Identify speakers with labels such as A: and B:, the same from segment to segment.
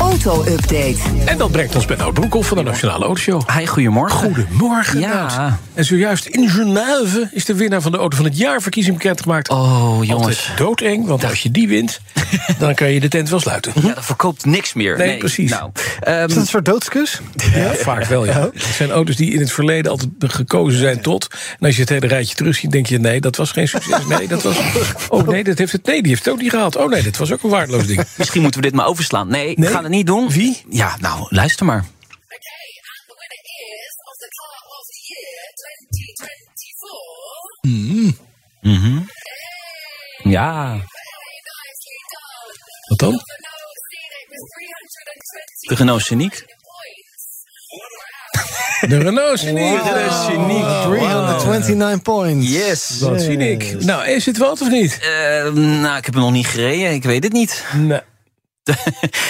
A: Auto-update.
B: En dat brengt ons bij Nout Broekhoff van de Nationale Autoshow.
C: Hi, goedemorgen.
B: Goedemorgen,
C: Ja.
B: Nout. En zojuist in Genève is de winnaar van de Auto van het Jaar verkiezing bekendgemaakt.
C: Oh, jongens.
B: Altijd doodeng, want als je die wint, dan kan je de tent wel sluiten.
C: Ja, dat verkoopt niks meer.
B: Nee, precies.
C: Nou, ehm,
D: Is dat een soort doodskus?
B: Ja, vaak wel, ja. Het zijn auto's die in het verleden altijd gekozen zijn tot. En als je het hele rijtje terugziet, denk je: nee, dat was geen succes. Nee, dat was. Oh nee, dat heeft het, nee die heeft het ook niet gehaald. Oh nee, dat was ook een waardeloos ding.
C: misschien moeten we dit maar overslaan. Nee, we
B: Nee.
C: gaan het niet doen.
B: Wie?
C: Ja, nou, luister maar.
E: Okay, and the winner is of the car of the year 2024.
C: Mhm. Ja,
E: Very nicely done.
B: Wat dan?
E: The Renault Scenic with 320
C: de Renault Scenic.
E: points.
B: De Renault Scenic.
D: Unique 329 points.
C: Yes.
B: Dat zie ik. Nou, is het wat of niet?
C: Eh, nou, ik heb hem nog niet gereden. Ik weet het niet.
B: Nee.
C: Dit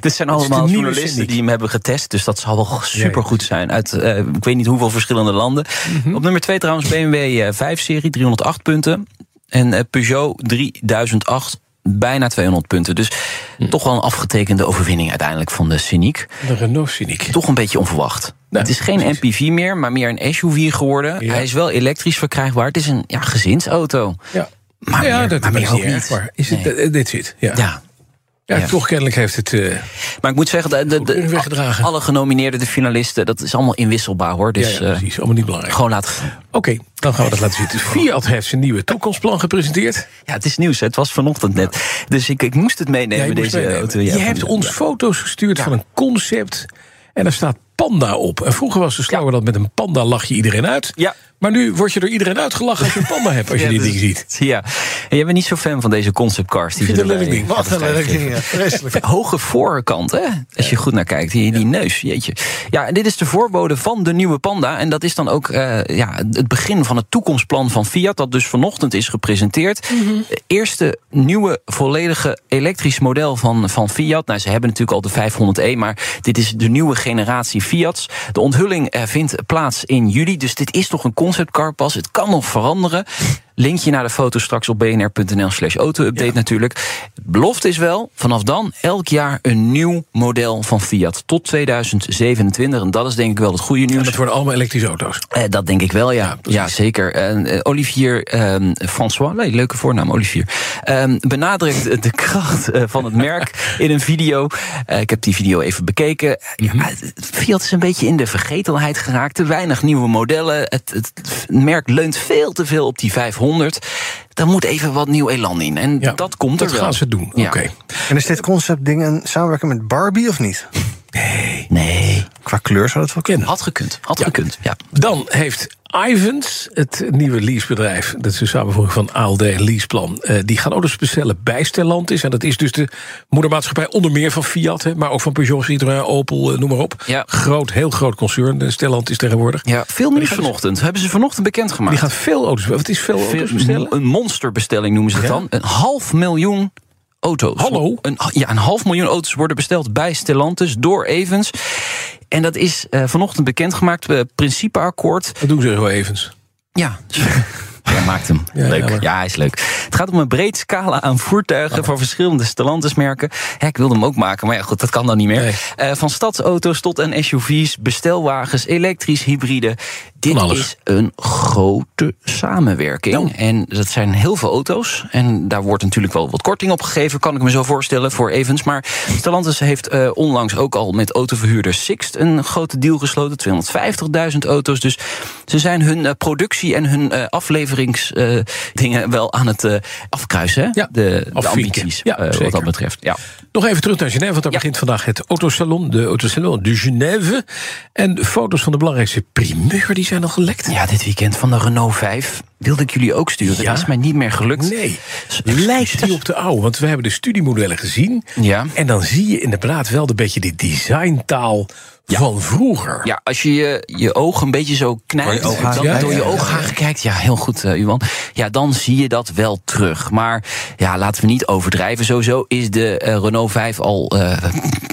C: zijn
B: is de
C: allemaal
B: nieuwe
C: journalisten
B: Scenic.
C: die hem hebben getest. Dus dat zal wel supergoed zijn. Uit eh, ik weet niet hoeveel verschillende landen.
B: Mhm.
C: Op nummer 2 trouwens BMW 5-serie, 308 punten. En eh, Peugeot 3008, bijna 200 punten. Dus
B: Mhm.
C: toch wel een afgetekende overwinning uiteindelijk van de Scenic.
B: De Renault Scenic.
C: Toch een beetje onverwacht.
B: Nou,
C: het is geen MPV meer, maar meer een SUV geworden.
B: Ja.
C: Hij is wel elektrisch verkrijgbaar. Het is een ja, gezinsauto.
B: Ja.
C: Maar
B: ja,
C: meer-
B: dat
C: maar
B: dat
C: meer
B: is
C: ook
B: niet
C: niet.
B: erg, maar is het,
C: Nee.
B: eh, dit zit. Ja. Ja.
C: Ja, ja.
B: toch kennelijk heeft het. eh,
C: Maar ik moet zeggen, de, de, de-
B: Goed weggedragen.
C: alle genomineerden, de finalisten, dat is allemaal inwisselbaar hoor. Dus
B: ja, ja,
C: eh,
B: precies. Allemaal niet belangrijk.
C: gewoon laten gaan.
B: Oké, dan gaan we dat laten zitten. Fiat heeft zijn nieuwe toekomstplan gepresenteerd.
C: Ja, het is nieuws. hè. Het was vanochtend net. Dus ik, ik moest het meenemen,
B: Ja, je moest
C: deze eh,
B: meenemen.
C: auto.
B: je
C: Ja,
B: hebt
C: van-
B: ons foto's gestuurd van een concept. En daar staat panda op. En vroeger was de slogan dat met een panda lach je iedereen uit.
C: Ja.
B: Maar nu word je door iedereen uitgelachen als je een panda hebt. Als je
C: Ja,
B: dit
C: dus-
B: ding ziet.
C: Ja. En jij bent niet zo fan van deze conceptcars. Die
B: Ik vind
C: ze eh,
B: het een
C: erbij-
B: lelijk ding.
D: Wat een leuk
C: geven.
D: ding, ja. Vreselijk.
C: Hoge voorkant, hè? Als je goed naar kijkt. Die, die neus, jeetje. Ja, en dit is de voorbode van de nieuwe Panda. En dat is dan ook eh, ja, het begin van het toekomstplan van Fiat... dat dus vanochtend is gepresenteerd. Het Eerste nieuwe volledige elektrisch model van, van Fiat. Nou, ze hebben natuurlijk al de 500e, maar dit is de nieuwe generatie Fiats. De onthulling eh, vindt plaats in juli. Dus dit is toch een conceptcar pas. Het kan nog veranderen. Linkje naar de foto straks op bnr.nl slash auto-update natuurlijk. Belofte is wel, vanaf dan elk jaar een nieuw model van Fiat. Tot 2027. En dat is denk ik wel het goede
B: En
C: nieuws.
B: dat worden allemaal elektrische auto's.
C: Eh, dat denk ik wel, ja. Ja, zeker. En, eh, Olivier ehm, François, nee, leuke voornaam, Olivier. ehm, benadrukt de kracht eh, van het merk in een video. Eh, ik heb die video even bekeken. Ja, het- Fiat is een beetje in de vergetelheid geraakt. Te weinig nieuwe modellen. Het, het merk leunt veel te veel op die 500. Daar moet even wat nieuw elan in. En
B: Ja,
C: dat komt er
B: dat
C: wel.
B: gaan ze doen.
C: Ja.
B: Oké.
D: En is dit concept ding een samenwerking met Barbie of niet?
C: Nee,
D: Qua kleur zou dat wel kunnen.
C: had gekund. Had gekund, ja.
B: Dan heeft Ivans, het nieuwe leasebedrijf... dat is de samenvoeging van ALD en Leaseplan... eh, die gaan auto's bestellen bij Stellantis. En dat is dus de moedermaatschappij onder meer van Fiat... Hè, maar ook van Peugeot, Citroën, Opel, eh, noem maar op.
C: Ja.
B: Groot, heel groot concern, eh, Stellantis tegenwoordig.
C: ja. Veel nieuws vanochtend. Hebben ze vanochtend bekendgemaakt.
B: Die gaat veel auto's bestellen. Wat is veel, Oh, auto's bestellen?
C: Een monsterbestelling noemen ze het dan. Een half miljoen auto's.
B: Hallo?
C: Een, ja, een half miljoen auto's worden besteld bij Stellantis door Evans. En dat is eh, vanochtend bekendgemaakt, eh, principeakkoord.
B: Dat doen ze zo evens.
C: Ja. Hij maakt hem.
B: Ja,
C: leuk.
B: jammer.
C: Ja, hij is leuk. Het gaat om een breed scala aan voertuigen van verschillende Stellantis-merken. Hè, ik wilde hem ook maken, maar ja, goed, dat kan dan niet meer.
B: Nee.
C: Eh, van stadsauto's tot en SUV's, bestelwagens, elektrisch, hybride. Dit
B: Van alles.
C: is een grote samenwerking.
B: Nou.
C: En dat zijn heel veel auto's. En daar wordt natuurlijk wel wat korting op gegeven, kan ik me zo voorstellen, voor Evans. Maar Stellantis heeft eh, onlangs ook al met autoverhuurder Sixt een grote deal gesloten. 250.000 auto's. Dus ze zijn hun eh, productie en hun afleveringsdingen wel aan het eh, afkruisen. hè?
B: Ja,
C: de, de
B: afvinken.
C: ambities,
B: Ja,
C: eh, wat
B: zeker.
C: dat betreft. Ja.
B: Nog even terug naar Genève, want daar
C: Ja.
B: begint vandaag het autosalon. De autosalon de Genève. En de foto's van de belangrijkste primeur, die zijn al gelekt.
C: ja, dit weekend van de Renault 5 wilde ik jullie ook sturen.
B: Ja?
C: Dat is mij niet meer gelukt.
B: Nee.
C: S-
B: Lijkt die op de oude? Want we hebben de studiemodellen gezien.
C: Ja.
B: En dan zie je inderdaad wel een beetje die designtaal van vroeger.
C: Ja, als je je, je oog een beetje zo knijpt,
D: Door je ooghaar
C: dan
B: kijkt.
C: door je
B: Ja, ja, ja.
C: ooghaar kijkt, ja, heel goed, eh Iwan. Ja, dan zie je dat wel terug. Maar ja, laten we niet overdrijven. Sowieso is de eh, Renault 5 al eh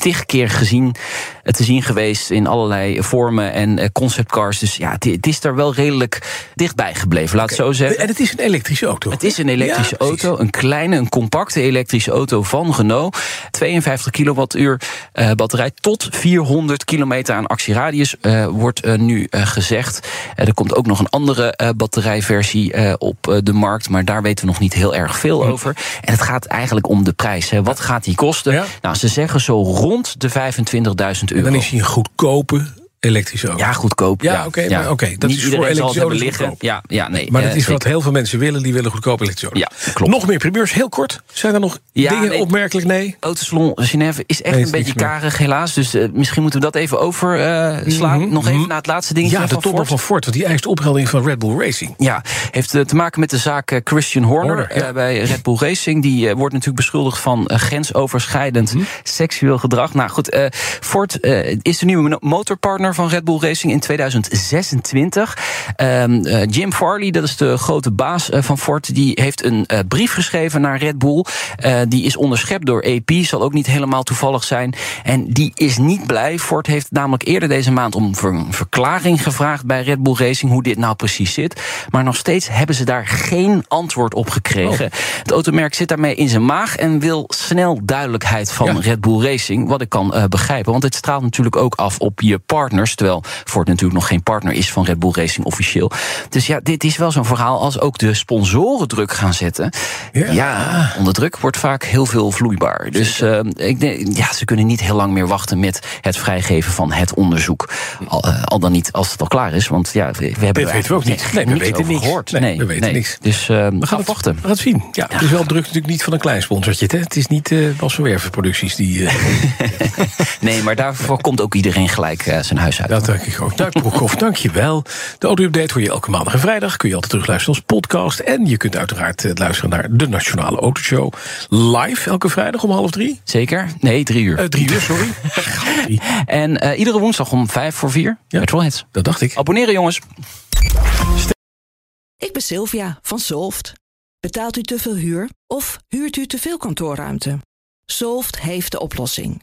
C: tig keer gezien, eh, te zien geweest in allerlei vormen en eh, conceptcars. Dus ja, het, het is daar wel redelijk dichtbij gebleven, laat het zo zeggen.
B: En het is een elektrische auto.
C: Het is een elektrische
B: Ja, precies.
C: auto, een kleine, een compacte elektrische auto van Renault. 52 kilowattuur eh, batterij tot 400 kilometer aan actieradius eh, wordt eh, nu eh, gezegd. Eh, er komt ook nog een andere eh, batterijversie eh, op eh, de markt, maar daar weten we nog niet heel erg veel over. En het gaat eigenlijk om de prijs. Hè. Wat gaat die kosten?
B: Hm. Ja.
C: Nou, ze zeggen zo rond de 25.000 euro.
B: En dan is hij een goedkope elektrische auto.
C: ja, goedkoop.
B: Ja, oké, maar oké, dat
C: Niet
B: is voor
C: iedereen zal het
B: elektrische
C: hebben
B: auto's
C: liggen.
B: goedkoop.
C: Ja, ja, nee.
B: Maar
C: eh,
B: dat is wat
C: zeker.
B: heel veel mensen willen. Die willen goedkope elektrische auto's.
C: Ja, klopt.
B: Nog meer primeurs, heel kort. Zijn er nog
C: Ja,
B: dingen
C: nee.
B: opmerkelijk? Nee.
C: Autosalon Genève is echt
B: Nee,
C: een
B: is niks
C: beetje
B: meer. Mhm.
C: karig, helaas. Dus eh, misschien moeten we dat even overslaan. slaan. Nog even naar het laatste dingetje
B: Ja, de
C: van
B: topper
C: Ford.
B: van Ford, want die eist opheldering van Red Bull Racing.
C: Ja, heeft eh, te maken met de zaak eh, Christian Horner,
B: Horner, ja.
C: eh, bij Red Bull Racing. Die eh, wordt natuurlijk beschuldigd van eh, grensoverschrijdend seksueel gedrag. Nou goed, eh, Ford eh, is de nieuwe mo- motorpartner van Red Bull Racing in 2026. Ehm, eh, Jim Farley, dat is de grote baas eh, van Ford, die heeft een eh, brief geschreven naar Red Bull. Eh, die is onderschept door AP, zal ook niet helemaal toevallig zijn. En die is niet blij. Ford heeft namelijk eerder deze maand om ver- een verklaring gevraagd bij Red Bull Racing hoe dit nou precies zit. Maar nog steeds hebben ze daar geen antwoord op gekregen. Het automerk zit daarmee in zijn maag en wil snel duidelijkheid van
B: Ja.
C: Red Bull Racing. Wat ik kan eh, begrijpen. Want het straalt natuurlijk ook af op je partners. Terwijl Ford natuurlijk nog geen partner is van Red Bull Racing officieel. Dus ja, dit is wel zo'n verhaal als ook de sponsoren druk gaan zetten.
B: Ja.
C: Ja, onder druk wordt vaak heel veel vloeibaar. Dus eh, ik denk, ja, ze kunnen niet heel lang meer wachten met het vrijgeven van het onderzoek. Al, eh, al dan niet als het al klaar is. Want ja, we, we hebben er
B: weten we
C: eigenlijk
B: ook niet.
C: niks-
B: Nee, we
C: niks
B: weten
C: over
B: niks.
C: gehoord.
B: Nee, we weten niks.
C: Dus eh, we gaan
B: het-
C: wachten.
B: We gaan het zien. Ja, Het is wel druk natuurlijk niet van een klein sponsortje. hè. Het is niet eh Bas van Werven producties die... eh,
C: Nee, maar daarvoor komt ook iedereen gelijk eh, zijn huis uit.
B: Dat denk ik ook. Duik Broekhoff, dankjewel. De auto-update hoor je elke maandag en vrijdag. Kun je altijd terugluisteren als podcast. En je kunt uiteraard eh, luisteren naar de Nationale Autoshow. Live elke vrijdag om half drie.
C: Zeker? Nee, drie uur.
B: Eh, drie uur, sorry. Drie.
C: En eh, iedere woensdag om vijf voor vier.
B: Ja.
C: Petrolheads.
B: Dat dacht ik.
C: Abonneren, jongens.
A: Ik ben Sylvia van Solft. Betaalt u te veel huur of huurt u te veel kantoorruimte? Solft heeft de oplossing.